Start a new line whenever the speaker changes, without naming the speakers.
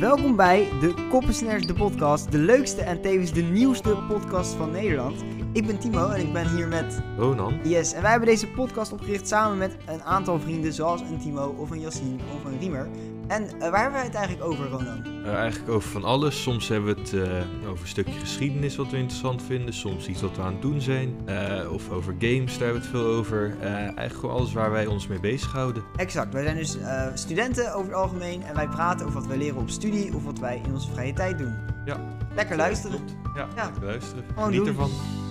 Welkom bij de Koppensners, de podcast. De leukste en tevens de nieuwste podcast van Nederland. Ik ben Timo en ik ben hier met
Ronan.
Yes. En wij hebben deze podcast opgericht samen met een aantal vrienden, zoals een Timo of een Yassine of een Riemer. En eh, waar hebben wij het eigenlijk over, Ronan?
Eh, eigenlijk over van alles. Soms hebben we het eh, over een stukje geschiedenis wat we interessant vinden. Soms iets wat we aan het doen zijn. Eh, of over games, daar hebben we het veel over. Eh, eigenlijk gewoon alles waar wij ons mee bezighouden.
Exact. Wij zijn dus eh, studenten over het algemeen en wij praten over wat wij leren op studie of wat wij in onze vrije tijd doen.
Ja.
Lekker luisteren.
Ja,
Ja.
lekker luisteren.
Gewoon
Geniet
doen.
ervan.